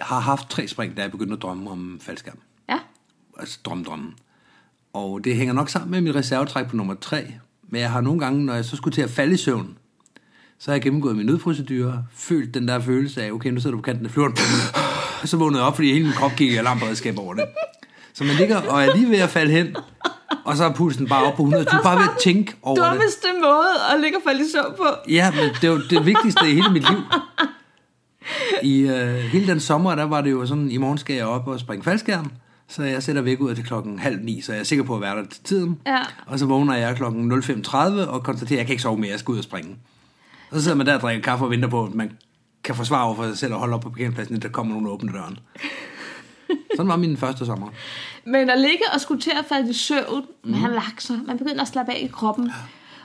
har haft tre spring, da jeg begyndte at drømme om faldskærm. Ja. Altså drømdrømmen. Og det hænger nok sammen med mit reservetræk på nummer tre. Men jeg har nogle gange, når jeg så skulle til at falde i søvn, så har jeg gennemgået min nødprocedure, følt den der følelse af, okay, nu sidder du på kanten af flyveren. Og så vågnede jeg op, fordi hele min krop gik i alarmberedskab over det. Så man ligger og er lige ved at falde hen, og så er pulsen bare op på 120, bare ved at tænke over det. Dummeste måde at ligge og falde i søvn på. Ja, men det var det vigtigste i hele mit liv. I øh, hele den sommer, der var det jo sådan, i morgen skal jeg op og springe faldskærm, så jeg sætter væk ud til klokken halv ni, så jeg er sikker på at være der til tiden. Ja. Og så vågner jeg klokken 05.30 og konstaterer, at jeg kan ikke sove mere, jeg skal ud og springe. Og så sidder man der og drikker kaffe og venter på, at man kan forsvare over for sig selv og holde op på parkeringspladsen, indtil der kommer nogen og åbner døren. Sådan var min første sommer. Men at ligge og skulle til at falde i søvn, mm. Mhm. man har lagt sig, man begynder at slappe af i kroppen.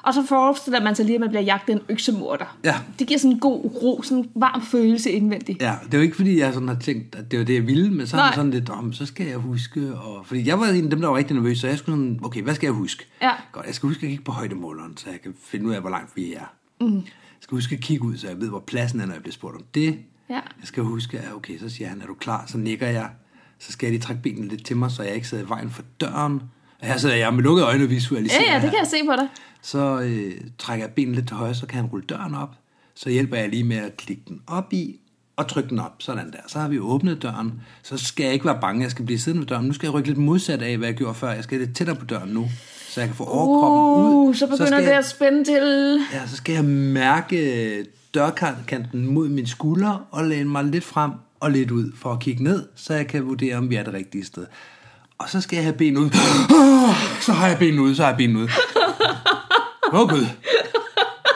Og så forestiller man sig lige, at man bliver jagtet af en øksemorder. Ja. Det giver sådan en god ro, sådan en varm følelse indvendigt. Ja, det er jo ikke, fordi jeg sådan har tænkt, at det var det, jeg ville, men så er man Nej. sådan lidt, om, så skal jeg huske. Og, fordi jeg var en af dem, der var rigtig nervøs, så jeg skulle sådan, okay, hvad skal jeg huske? Ja. Godt, jeg skal huske at kigge på højdemåleren, så jeg kan finde ud af, hvor langt vi er. Mm. Jeg skal huske at kigge ud, så jeg ved, hvor pladsen er, når jeg bliver spurgt om det. Ja. Jeg skal huske, at okay, så siger han, er du klar? Så nikker jeg. Så skal jeg lige trække benene lidt til mig, så jeg ikke sidder i vejen for døren. Og her sidder jeg med lukkede øjne og visualiserer. Ja, ja, det her. kan jeg se på dig. Så øh, trækker jeg benene lidt til højre, så kan han rulle døren op. Så hjælper jeg lige med at klikke den op i, og trykke den op, sådan der. Så har vi åbnet døren. Så skal jeg ikke være bange, jeg skal blive siddende ved døren. Nu skal jeg rykke lidt modsat af, hvad jeg gjorde før. Jeg skal lidt tættere på døren nu. så jeg kan få overkroppen ud. Uh, så begynder skal det jeg, at spænde til. Ja, så skal jeg mærke dørkanten mod min skulder og læne mig lidt frem og lidt ud for at kigge ned, så jeg kan vurdere, om vi er det rigtige sted. Og så skal jeg have ben ud. Så har jeg ben ud, så har jeg ben ud. Åh oh, gud.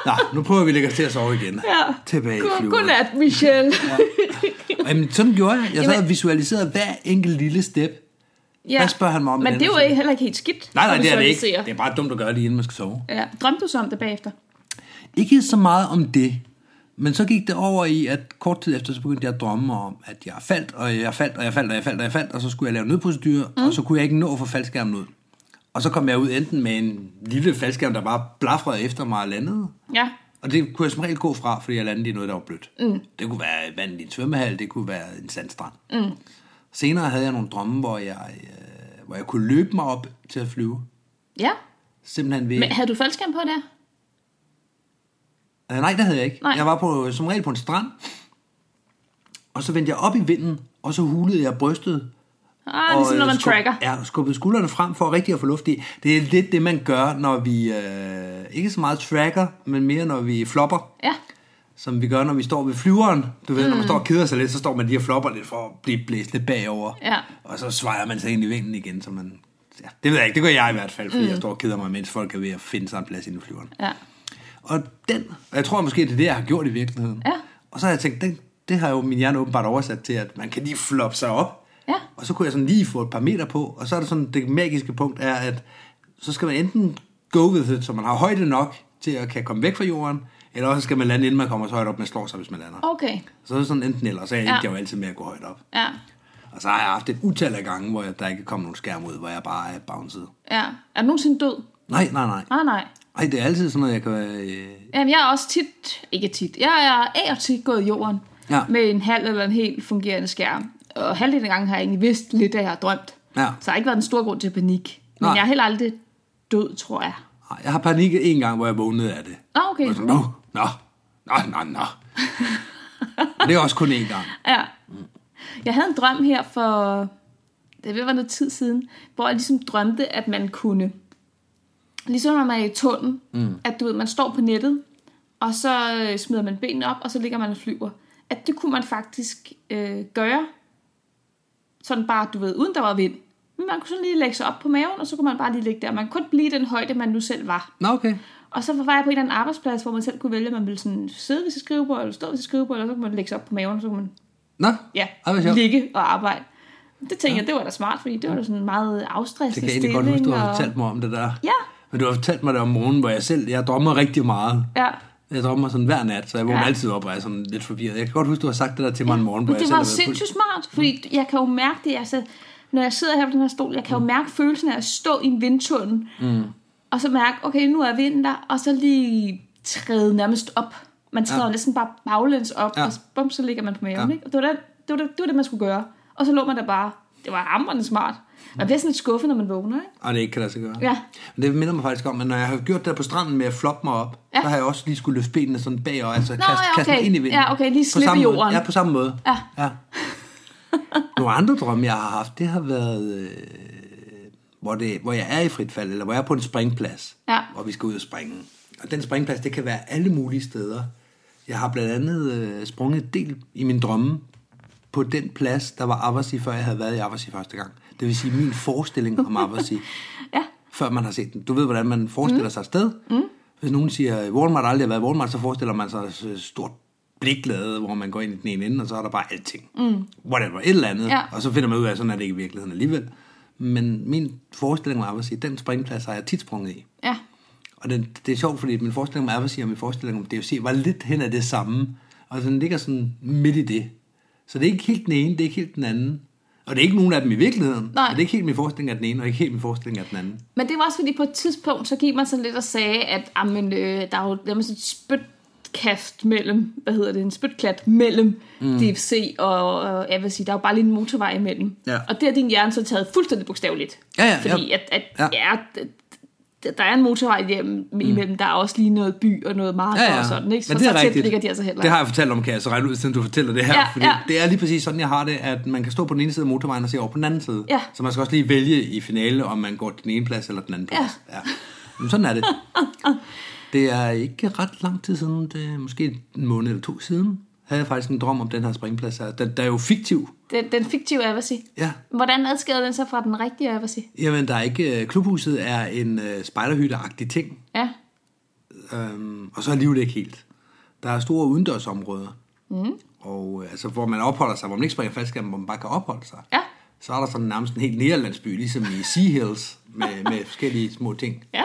Nå, nu prøver vi at lægge os til at sove igen. Ja. Tilbage i God, flyveren. godnat, Michelle. Jamen, sådan gjorde jeg. Jeg sad Jamen- og visualiserede hver enkelt lille step. ja. Hvad spørger han mig om i Men den det er jo her ikke, heller ikke helt skidt. Nej, nej, at det er det ikke. visualisere. Det er bare dumt at gøre det, inden man skal sove. Ja. Drømte du så om det bagefter? Ikke så meget om det, men så gik det over i, at kort tid efter, så begyndte jeg at drømme om, at jeg faldt, og jeg faldt, og jeg faldt, og jeg faldt, og jeg faldt, og så skulle jeg lave nødprocedurer, mm. og så kunne jeg ikke nå at få faldskærmen ud. Og så kom jeg ud enten med en lille faldskærm, der bare blafrede efter mig og landede, Ja. og det kunne jeg som regel gå fra, fordi jeg landede i noget, der var blødt. Mm. Det kunne være vand i en svømmehal, det kunne være en sandstrand. Mm. Senere havde jeg nogle drømme, hvor jeg, øh, hvor jeg kunne løbe mig op til at flyve. Ja. Simpelthen ved... Men havde du faldskærm på der? Øh, nej, det havde jeg ikke. Nej. Nej. Jeg var på, som regel på en strand, og så vendte jeg op i vinden, og så hulede jeg brystet. Ah, ligesom og, når øh, man skub- tracker. Ja, skubbede skuldrene frem for rigtig at få luft i. Det er lidt det, man gør, når vi øh, ikke så meget tracker, men mere når vi flopper. Ja. Som vi gør, når vi står ved flyveren. Du ved, mm. når man står og keder sig lidt, så står man lige og flopper lidt for at blive blæst lidt bagover. Ja. Og så svejer man sig ind i vinden igen, så man... Ja, det ved jeg ikke, det gør jeg i hvert fald, fordi mm. jeg står og keder mig, mens folk er ved at finde sig en plads inde i flyveren. Ja. Og den, og jeg tror måske, det er det, jeg har gjort i virkeligheden. Ja. Og så har jeg tænkt, den, det har jo min hjerne åbenbart oversat til, at man kan lige floppe sig op. Ja. Og så kunne jeg sådan lige få et par meter på, og så er det sådan, det magiske punkt er, at så skal man enten go with it, så man har højde nok til at kan komme væk fra jorden, eller også skal man lande, inden man kommer så højt op, man slår sig, hvis man lander. Okay. Så er det sådan enten eller, så endte Ja. ja. jeg jo altid med at gå højt op. Ja. Og så har jeg haft et utal af gange, hvor jeg, der ikke kom nogen skærm ud, hvor jeg bare er bounced. Ja. Er du nogensinde død? Nej, nej, nej. Nej, nej. Ej, det er altid sådan noget, jeg kan være... Øh, Jamen, jeg er også tit, ikke tit, jeg er af og til gået i jorden Ja. med en halv eller en helt fungerende skærm. Og halvdelen af gangen har jeg egentlig vidst lidt, at jeg har drømt. Ja. Så der har ikke været en stor grund til panik. Men Nej. jeg er heller aldrig død, tror jeg. Nej, Jeg har panikket en gang, hvor jeg vågnede af det. Nå, okay. Og jeg sådan, Nå, nå, nå, nå, nå. Og det er også kun én gang. Ja. Jeg havde en drøm her for, det ved være noget tid siden, hvor jeg ligesom drømte, at man kunne, ligesom når man er i tunnel, mm. at du ved, man står på nettet, og så øh, smider man benene op, og så ligger man og flyver. At det kunne man faktisk øh, gøre, sådan bare, du ved, uden der var vind. Men man kunne sådan lige lægge sig op på maven, og så kunne man bare lige ligge der. Man kunne kun blive i den højde, man nu selv var. Nå, okay. Og så var jeg på en eller anden arbejdsplads, hvor man selv kunne vælge, om man ville sådan sidde ved sit skrivebord, eller stå ved sit skrivebord, eller så kunne man lægge sig op på maven, og så kunne man Nå, ja, Ej, hvor sjovt. ligge og arbejde. Det tænkte ja. jeg, det var da smart, fordi det var da sådan meget afstressende Det kan jeg egentlig godt huske, du har fortalt mig om det der. Ja. Men du har fortalt mig det om morgenen, hvor jeg selv, jeg drømmer rigtig meget. Ja, Jeg drømmer sådan hver nat, så jeg vågner Ja. ja. altid op og er sådan lidt forvirret. Jeg kan godt huske, du har sagt det der til mig en morgen, hvor men jeg det selv var har været fuld. sindssygt smart, fordi jeg kan jo mærke det, jeg sad, når jeg sidder her på den her stol, jeg kan Mm. jo mærke følelsen af at stå i en vindtunnel, mm. og så mærke, okay, nu er vinden der, og så lige træde nærmest op. Man træder ja. næsten bare baglæns op, ja. Ja. og bum, så ligger man på maven. Ja. Ikke? Og det, var det, det, var det, det var det, man skulle gøre. Og så lå man der bare. Det var hammerende smart. Man bliver sådan lidt skuffet, når man vågner, ikke? Og det ikke kan lade sig gøre. Ja. Men det minder mig faktisk om, at når jeg har gjort det der på stranden med at floppe mig op, Ja. ja. så har jeg også lige skulle løfte benene sådan bag og altså Nå, ja, kaste, kaste mig okay. ind i vinden. Ja, okay, lige på slippe samme jorden. Måde. Ja, på samme måde. Ja. ja. Nogle andre drømme, jeg har haft, det har været, øh, hvor, det, hvor jeg er i frit fald, eller hvor jeg er på en springplads, Ja. hvor vi skal ud og springe. Og den springplads, det kan være alle mulige steder. Jeg har blandt andet øh, sprunget en del i min drømme på den plads, der var Abbasi, før jeg havde været i Abbasi første gang. Det vil sige min forestilling om Abbasi Ja, før man har set den. Du ved, hvordan man forestiller mm. sig et sted. Mm. Hvis nogen siger, at Walmart aldrig har været i Walmart, så forestiller man sig et stort bliklade, hvor man går ind i den ene ende, og så er der bare alting. Mm. Whatever, et eller andet. Ja. Og så finder man ud af, at sådan er det ikke i virkeligheden alligevel. Men min forestilling var at sige, den springplads har jeg tit sprunget i. ja, Og den, det er sjovt, fordi min forestilling om Abbasi og min forestilling om DFC var lidt hen af det samme. Og den ligger sådan midt i det. Så det er ikke helt den ene, det er ikke helt den anden. Og det er ikke nogen af dem i virkeligheden. Nej. Og det er ikke helt min forestilling af den ene, og ikke helt min forestilling af den anden. Men det var også fordi på et tidspunkt, så gik man sådan lidt og sagde, at amen, øh, der er jo nærmest et spytkast mellem, hvad hedder det, en spytklat mellem mm. DFC og, og jeg vil sige, der er jo bare lige en motorvej imellem. Ja. Og det har din hjerne så taget fuldstændig bogstaveligt. Ja, ja, Fordi ja. at, at ja. Ja. Ja, det, der- der er en motorvej hjem, imellem, der er også lige noget by og noget marker og sådan, ikke? Så, Men det er så rigtigt. tæt ligger de altså heller Det ikke. har jeg fortalt om, kan jeg så regne ud, siden du fortæller det her. Ja, fordi ja. det er lige præcis sådan, jeg har det, at man kan stå på den ene side af motorvejen og se over på den anden side. Ja. Så man skal også lige vælge i finale, om man går den ene plads eller den anden Ja. plads. Ja. Men sådan er det. Ah, Det er ikke ret lang tid siden, det er måske en måned eller to siden, havde jeg faktisk en drøm om den her springplads her. Den, der er jo fiktiv. Den, den fiktive Avasi. Ja. Hvordan adskiller den sig fra den rigtige Avasi? Jamen, der er ikke... øh, Klubhuset er en øh, spejderhytte-agtig ting. Ja. Øhm, og så alligevel ikke helt. Der er store udendørsområder, mm. og, øh, altså, hvor man opholder sig, hvor man ikke springer faldskærm, hvor man bare kan opholde sig. Ja. Så er der sådan nærmest en helt nederlandsby, ligesom i Sea Hills, med, med forskellige små ting. Ja.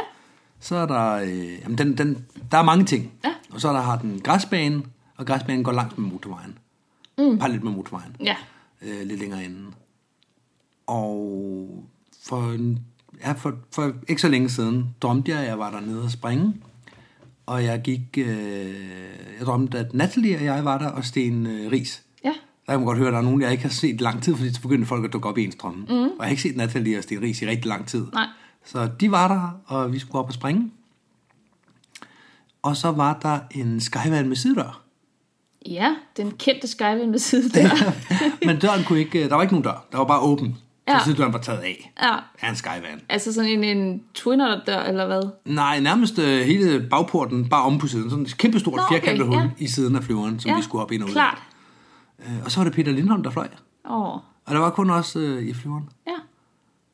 Så er der, øh, jamen den, den, der er mange ting. Ja. Og så er der har den græsbane, og græsbanen går langs med motorvejen. Mm. Parallelt med motorvejen Ja. øh, lidt længere inden. Og for, en- ja, for, for ikke så længe siden drømte jeg, at jeg var dernede og springe. Og jeg gik, øh, jeg drømte, at Natalie og jeg var der, og Sten øh, Ries. Ja. Der kan man godt høre, at der er nogen, jeg ikke har set i lang tid, fordi så begyndte folk at dukke op i ens drømme. Mm. Og jeg har ikke set Natalie og Sten Ries i rigtig lang tid. Nej. Så de var der, og vi skulle op og springe. Og så var der en skyvand med sidedør. Ja, den kendte Skyvind med side der. Men døren kunne ikke, øh, der var ikke nogen dør. Der var bare åben. Ja. Ja. Så sidedøren var taget af. Ja. Er en skyvan. Altså sådan en, en twinner-dør, eller hvad? Nej, nærmest øh, hele bagporten, bare om på siden. Sådan et kæmpestort Nå, okay, okay, firkantet hul ja. i siden af flyveren, som ja, vi skulle op ind og ud. af. klart. Øh, og så var det Peter Lindholm, der fløj. Åh, oh. Og der var kun også øh, i flyveren. ja.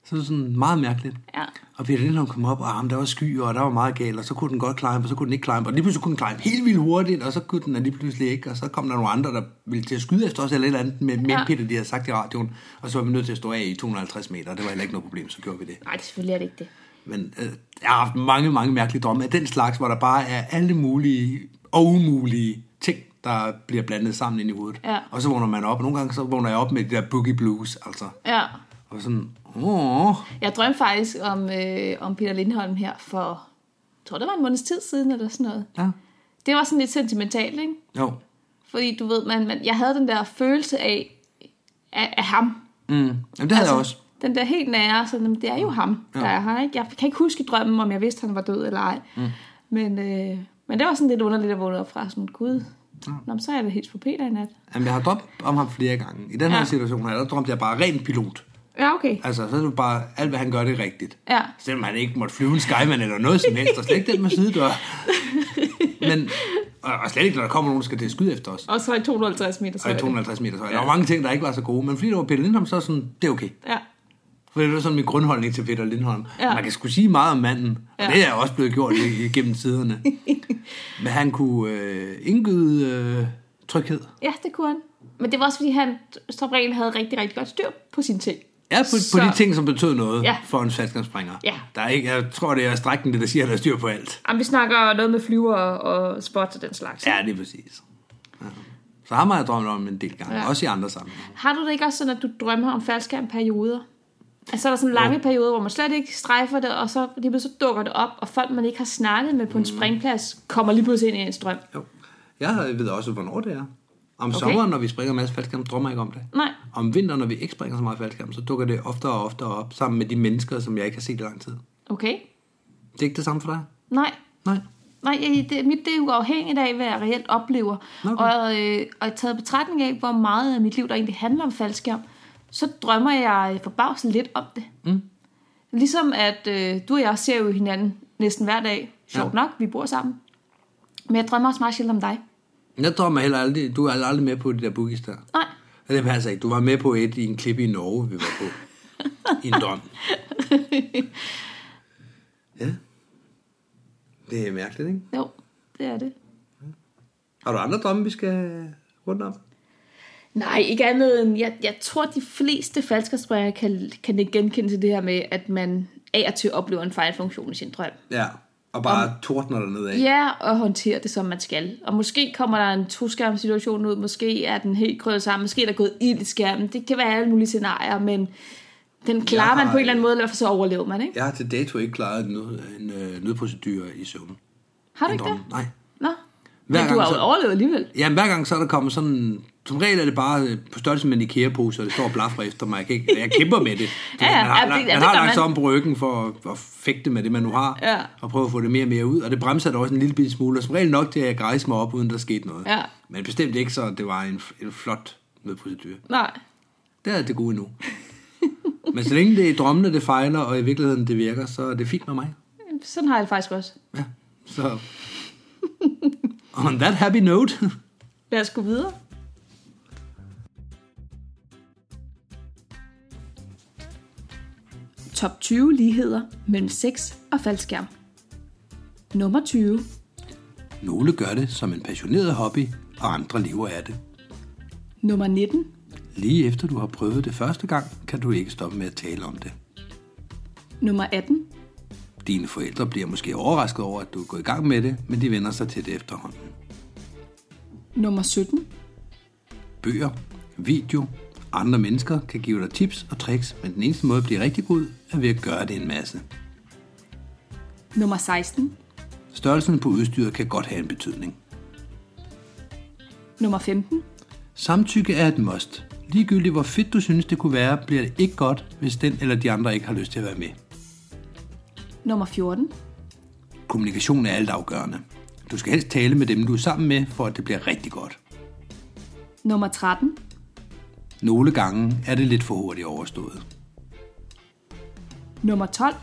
Så det var sådan meget mærkeligt. Ja. Og Peter Lindholm kom op, og ah, men der var sky, og der var meget galt, og så kunne den godt climb, og så kunne den ikke climb, og lige pludselig kunne den climb helt vildt hurtigt, og så kunne den lige pludselig ikke, og så kom der nogle andre, der ville til at skyde efter os, eller et eller andet, med, med ja. Ja. Peter, de havde sagt i radioen, og så var vi nødt til at stå af i 250 meter, og det var heller ikke noget problem, så gjorde vi det. Nej, det selvfølgelig er det ikke det. Men øh, jeg har haft mange, mange mærkelige drømme af den slags, hvor der bare er alle mulige og umulige ting, der bliver blandet sammen ind i hovedet. Ja. Og så vågner man op, og nogle gange så vågner jeg op med det der boogie blues, altså. Ja. Og sådan, åh, Jeg drømte faktisk om, øh, om Peter Lindholm her for, jeg tror det var en måneds tid siden, eller sådan noget. ja, Det var sådan lidt sentimentalt, ikke? jo, Fordi du ved, man, man, jeg havde den der følelse af, af, af ham. mm. Jamen, det havde Altså- jeg også. Den der helt nære, så jamen, det er jo ham, Mm. ja. der er her. Ikke? Jeg kan ikke huske i drømmen, om jeg vidste, han var død eller ej. Mm. Men, øh, men det var sådan lidt underligt at vågne op fra. Sådan, gud, ja. Nå, men så er jeg da helt på Peter i nat. Jamen, jeg har drømt om ham flere gange. I den her ja. Ja. situation her, der drømte jeg bare rent pilot. Ja, okay. Altså, så er det bare, alt hvad han gør, det er rigtigt. Ja. Selvom han ikke måtte flyve en skyman eller noget som helst, og slet ikke den med sidedør. Men, og og slet ikke, når der kommer nogen, der skal til at skyde efter os. Og så i 250 meter. Så Og i er det. 250 meter højde. Der var mange ting, der ikke var så gode, men fordi det var Peter Lindholm, så er sådan, det er okay. Ja. For det var sådan min grundholdning til Peter Lindholm. Ja. Ja. Man kan sgu sige meget om manden, og Ja. det er også blevet gjort i- igennem tiderne. men han kunne øh, indgyde øh, tryghed. ja, det kunne han. Men det var også, fordi han som regel havde rigtig, rigtig godt styr på sine ting. Ja, på, på Så- de ting, som betød noget ja. Ja. for en faldskærmsspringer. Ja. Der er ikke, jeg tror, det er strækken, det der siger, at der er styr på alt. Jamen, vi snakker noget med flyver og spot og den slags. Ja, det er præcis. Ja. Så ham har jeg drømt om en del gange, ja. Ja. også i andre sammenhænge. Har du det ikke også sådan, at du drømmer om faldskærmperioder? Altså så er der sådan lange perioder, hvor man slet ikke strejfer det, og så lige pludselig så dukker det op, og folk, man ikke har snakket med på en springplads, kommer lige pludselig ind i ens drøm. Jo. Jeg ved også, hvornår det er. Om okay. Okay. sommeren, når vi springer en masse faldskærm, drømmer jeg ikke om det. Nej. Om vinteren, når vi ikke springer så meget faldskærm, så dukker det oftere og oftere op, sammen med de mennesker, som jeg ikke har set i lang tid. Okay? Det er ikke det samme for dig? Nej. Nej. Nej, jeg, det, mit det er jo afhængigt af, hvad jeg reelt oplever. Okay. Okay. Og, øh, og taget i betragtning af, hvor meget af mit liv, der egentlig handler om faldskærm, så drømmer jeg forbavset lidt om det. Mm. Ligesom at øh, du og jeg ser jo hinanden næsten hver dag. Sjovt Ja. ja. nok, vi bor sammen. Men jeg drømmer også meget sjældent om dig. Jeg drømmer heller aldrig, du er aldrig med på det der boogies der. Nej. Ja, det passer ikke. Du var med på et i en klip i Norge, vi var på. I en drøm. Ja. Det er mærkeligt, ikke? Jo, det er det. Har du andre drømme, vi skal rundt om? Nej, ikke andet end, jeg, jeg tror, de fleste falskerspræger kan, kan ikke genkende til det her med, at man af og til oplever en fejlfunktion i sin drøm. Ja. Og bare tordner dig nedad. Ja, og håndtere det, som man skal. Og måske kommer der en toskærmssituation ud, måske er den helt krøllet sammen, måske er der gået ild i skærmen. Det kan være alle mulige scenarier, men den klarer Jeg man har- på en eller anden måde, eller for så overlever man, ikke? Jeg har til dato ikke klaret en, nød, en øh, nødprocedur i søvn. Har du En ikke det? drøm. Nej. Nå. Hver Men du gang har jo så- overlevet alligevel. Jamen, hver gang så er der kommet sådan Som regel er det bare øh, på størrelse med en IKEA-pose, og det står og blaffer efter mig. Jeg, kan ikke, jeg kæmper med det. det Ja, ja, man har, ja, det- lagt- ja, man det har gør lagt sig man. om på ryggen for at, at fægte med det, man nu har, Ja. og prøve at få det mere og mere ud. Og det bremser da også en lille bitte smule, og som regel nok til, at jeg grejser mig op, uden der skete noget. Ja. Men bestemt ikke, så det var en, en flot mødeprocedur. Nej. Det er det gode endnu. Men så længe det er i drømmene, det fejler, og i virkeligheden det virker, så er det fint med mig. Sådan har jeg det faktisk også. Ja, så... On that happy note. Lad os gå videre. Top 20 ligheder mellem sex og faldskærm. Nummer 20. Nogle gør det som en passioneret hobby, og andre lever af det. Nummer 19. Lige efter du har prøvet det første gang, kan du ikke stoppe med at tale om det. Nummer 18. Dine forældre bliver måske overrasket over, at du er gået i gang med det, men de vender sig til det efterhånden. Nummer 17. Bøger, video, andre mennesker kan give dig tips og tricks, men den eneste måde at blive rigtig god, er ved at gøre det en masse. Nummer 16. Størrelsen på udstyret kan godt have en betydning. Nummer 15. Samtykke er et must. Ligegyldigt hvor fedt du synes det kunne være, bliver det ikke godt, hvis den eller de andre ikke har lyst til at være med. Nummer 14. Kommunikation er altafgørende. Du skal helst tale med dem, du er sammen med, for at det bliver rigtig godt. Nummer 13. Nogle gange er det lidt for hurtigt overstået. Nummer 12.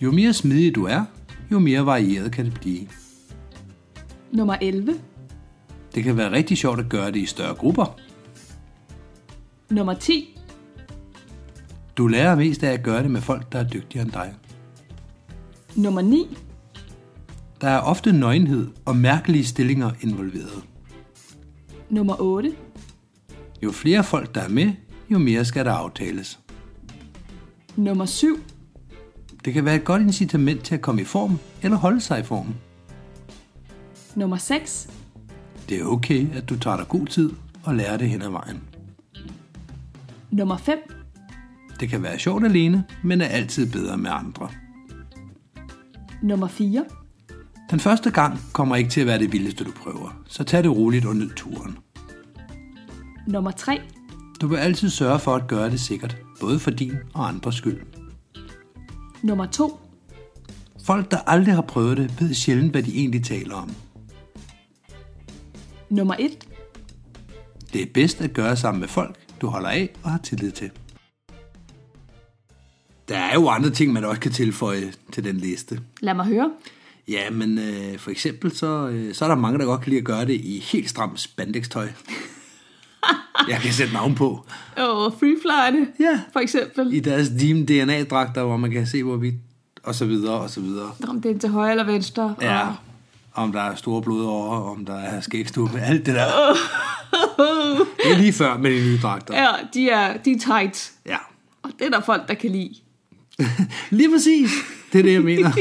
Jo mere smidig du er, jo mere varieret kan det blive. Nummer 11. Det kan være rigtig sjovt at gøre det i større grupper. Nummer 10. Du lærer mest af at gøre det med folk, der er dygtigere end dig. Nummer 9. Der er ofte nøgenhed og mærkelige stillinger involveret. Nummer 8. Jo flere folk, der er med, jo mere skal der aftales. Nummer 7. Det kan være et godt incitament til at komme i form eller holde sig i form. Nummer 6. Det er okay, at du tager dig god tid og lærer det hen ad vejen. Nummer 5. Det kan være sjovt alene, men er altid bedre med andre. Nummer 4. Den første gang kommer ikke til at være det vildeste, du prøver, så tag det roligt og nyd turen. Nummer 3. Du vil altid sørge for at gøre det sikkert, både for din og andres skyld. Nummer 2. Folk, der aldrig har prøvet det, ved sjældent, hvad de egentlig taler om. Nummer 1. Det er bedst at gøre sammen med folk, du holder af og har tillid til. Der er jo andre ting, man også kan tilføje til den liste. Lad mig høre. Ja, men øh, for eksempel, så, øh, så er der mange, der godt kan lide at gøre det i helt stramt spandex-tøj. Jeg kan sætte navn på. Åh, oh, freeflyne. Ja. For eksempel. I deres Deem DNA-dragter, hvor man kan se, hvor vi... Og så videre, og så videre. Om det er til højre eller venstre. Ja. Og- Om der er store blodårer, om der er skægstube, alt det der. Det er lige før med de nye dragter. Ja, de er, de er tight. Ja. Og det er der folk, der kan lide. Lige præcis. Det er det, jeg mener.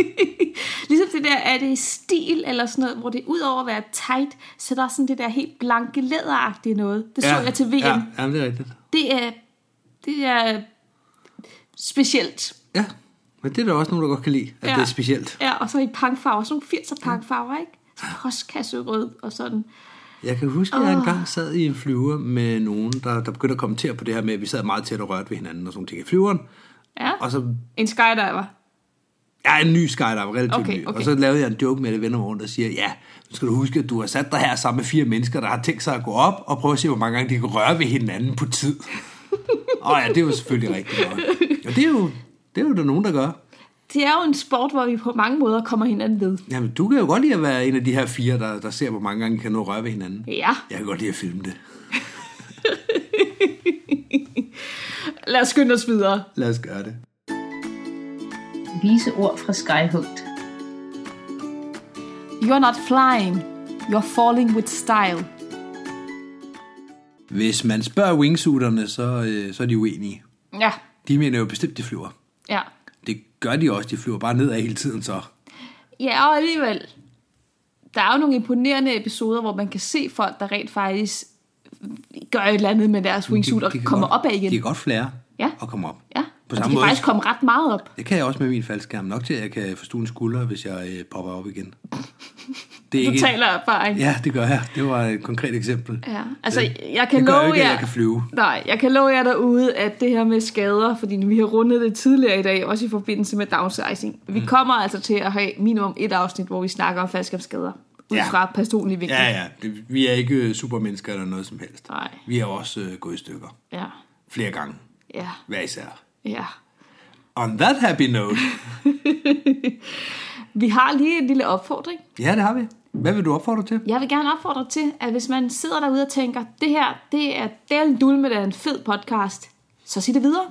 ligesom det der, er det stil eller sådan noget, hvor det ud over at være tight, så der er sådan det der helt blanke læderagtige noget. Det så jeg til VM. Ja, Ja. ja det er rigtigt. Det er, det er specielt. Ja, men det er der også nogen, der godt kan lide, at ja. det er Ja. specielt. Ja, og så i pangfarver, sådan nogle 80'er pangfarver, ikke? Så postkasserød og sådan. Jeg kan huske, at jeg engang sad i en flyver med nogen, der, der begyndte at kommentere på det her med, at vi sad meget tæt og rørte ved hinanden og sådan nogle ting i flyveren. Ja, Og så en skydiver. Ja, en ny skydiver, relativt Okay, ny. okay. Og så lavede jeg en joke med det venner rundt og siger, ja, nu skal du huske, at du har sat dig her sammen med fire mennesker, der har tænkt sig at gå op og prøve at se, hvor mange gange de kan røre ved hinanden på tid. og ja, det er jo selvfølgelig rigtigt godt. Og det er jo, det er jo der nogen, der gør. Det er jo en sport, hvor vi på mange måder kommer hinanden ved. Jamen, du kan jo godt lide at være en af de her fire, der, der ser, hvor mange gange de kan nå at røre ved hinanden. Ja, Jeg kan godt lide at filme det. lad os skynde os videre. Lad os gøre det. Vise ord fra Skyhugt. You're not flying, you're falling with style. Hvis man spørger wingsuiterne, så, øh, så er de uenige. Ja, De mener jo bestemt, de flyver. ja. Det gør de også, de flyver bare nedad hele tiden så. Ja, og alligevel. Der er jo nogle imponerende episoder, hvor man kan se folk, der rent faktisk gør et eller andet med deres wingsuit og kan kommer godt, op af igen. De kan godt flære Ja. og komme op. ja, På og de samme kan måde. faktisk komme ret meget op. Det kan jeg også med min faldskærm. Nok til, at jeg kan forstue en skulder, hvis jeg øh, popper op igen. Det er Du ikke... taler af erfaring. Ja, det gør jeg. Det var et konkret eksempel. Ja, altså, Øh, jeg kan det gør jo love ikke, at jer- jeg kan flyve. Nej, jeg kan love jer derude, at det her med skader, fordi vi har rundet det tidligere i dag, også i forbindelse med downsizing. Mm. Vi kommer altså til at have minimum et afsnit, hvor vi snakker om faldskabsskader, ud Ja. fra personlig vinkel. Ja, ja. Det- Vi er ikke øh, supermennesker eller noget som helst. Nej. Vi er også øh, gået i stykker. ja. Flere gange. Ja, Hver især. ja. On that happy note. Vi har lige en lille opfordring. Ja, det har vi. Hvad vil du opfordre til? Jeg vil gerne opfordre til, at hvis man sidder derude og tænker, det her, det er Del Dulme, der er en fed podcast, så sig det videre.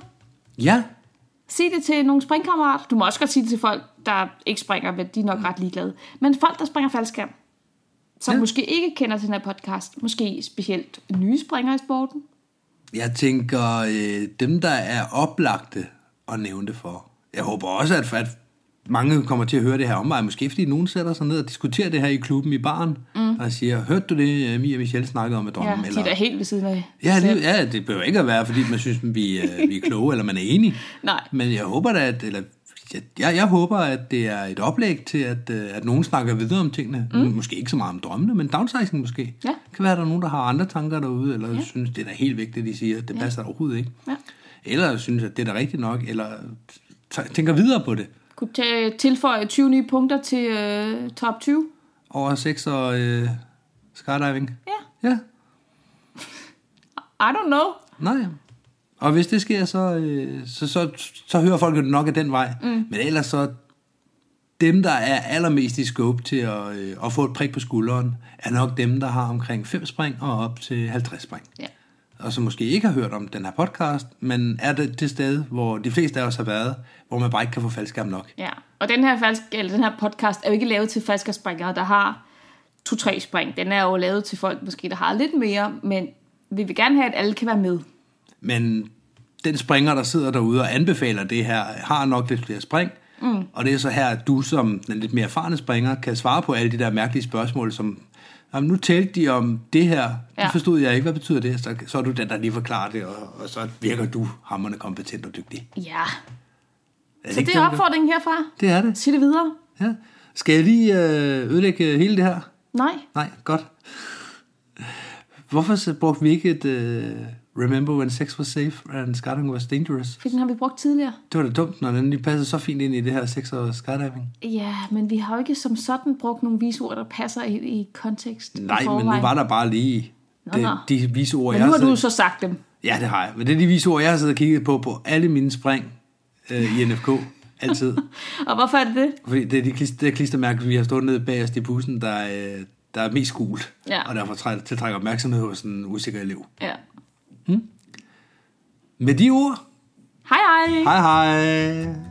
Ja. Sig det til nogle springkammerater. Du må også godt sige det til folk, der ikke springer, men de er nok ret ligeglade. Men folk, der springer faldskærm, som Ja. ja. måske ikke kender til den her podcast, måske specielt nye springere i sporten. Jeg tænker, øh, dem der er oplagte at nævne det for. Jeg håber også, at, at mange kommer til at høre det her om mig. Måske fordi nogen sætter sig ned og diskuterer det her i klubben i baren. Mm. Og siger, hørte du det, øh, Mia og Michelle snakkede om med Ja, drømmen? de er da helt ved siden af. Ja, det, ja, det behøver ikke at være, fordi man synes, at vi, øh, vi er kloge, eller man er enig. Nej. Men jeg håber da, at, eller, jeg, jeg jeg håber, at det er et oplæg til, at, øh, at nogen snakker videre om tingene. Mm. Måske ikke så meget om drømmene, men downsizing måske. Ja. Kan være, at der er nogen, der har andre tanker derude, eller ja. synes, det er da helt vigtigt, de siger. Det passer ja. overhovedet ikke. Ja. Eller synes, at det er da rigtigt nok, eller t- tænker videre på det. Kunne tage, tilføje 20 nye punkter til øh, top 20. Over sex og øh, skydiving. Ja. Ja, I don't know. Nej. Og hvis det sker, så, øh, så, så, så hører folk jo nok af den vej. Mm. Men ellers så, dem der er allermest i scope til at, øh, at få et prik på skulderen, er nok dem, der har omkring 5 spring og op til 50 spring. Ja. Og som måske ikke har hørt om den her podcast, men er det det sted, hvor de fleste af os har været, hvor man bare ikke kan få faldskærm nok. Ja, og den her, falsk, eller den her podcast er jo ikke lavet til falskerspringere, der har to-tre spring. Den er jo lavet til folk, måske der har lidt mere, men vi vil gerne have, at alle kan være med. Men den springer, der sidder derude og anbefaler det her, har nok lidt flere spring. Mm. Og det er så her, at du som den lidt mere erfarne springer, kan svare på alle de der mærkelige spørgsmål, som, jamen, nu talte de om det her, ja. Ja. det forstod jeg ikke, hvad betyder det? Så, så er du den, der lige forklarer det, og, og så virker du hammerne kompetent og dygtig. Ja, Er så ikke det er sådan, opfordringen herfra. Det er det, Øh, Sig det videre. ja. Skal jeg lige øh, ødelægge hele det her? Nej. Nej, godt. Hvorfor så brugte vi ikke et øh, Remember when sex was safe and skydiving was dangerous? For den har vi brugt tidligere. Det var da dumt, når den lige passede så fint ind i det her sex og skydiving. Ja, men vi har jo ikke som sådan brugt nogle visord, der passer ind i kontekst. i Nej, men forvejen. nu var der bare lige Nå, det, nå. de vise Men ord, jeg nu har siddet- du så sagt dem. Ja, det har jeg. Men det er de vise ord, jeg har siddet og kigget på på alle mine spring øh, i NFK. Altid. Og hvorfor er det det? Fordi det er de klister, det klistermærke, vi har stået nede bagerst i bussen, der, øh, der er mest gult. Ja. Og derfor træ- tiltrækker opmærksomhed hos en usikker elev. Ja. Med de ord, Hej hej! hej hej!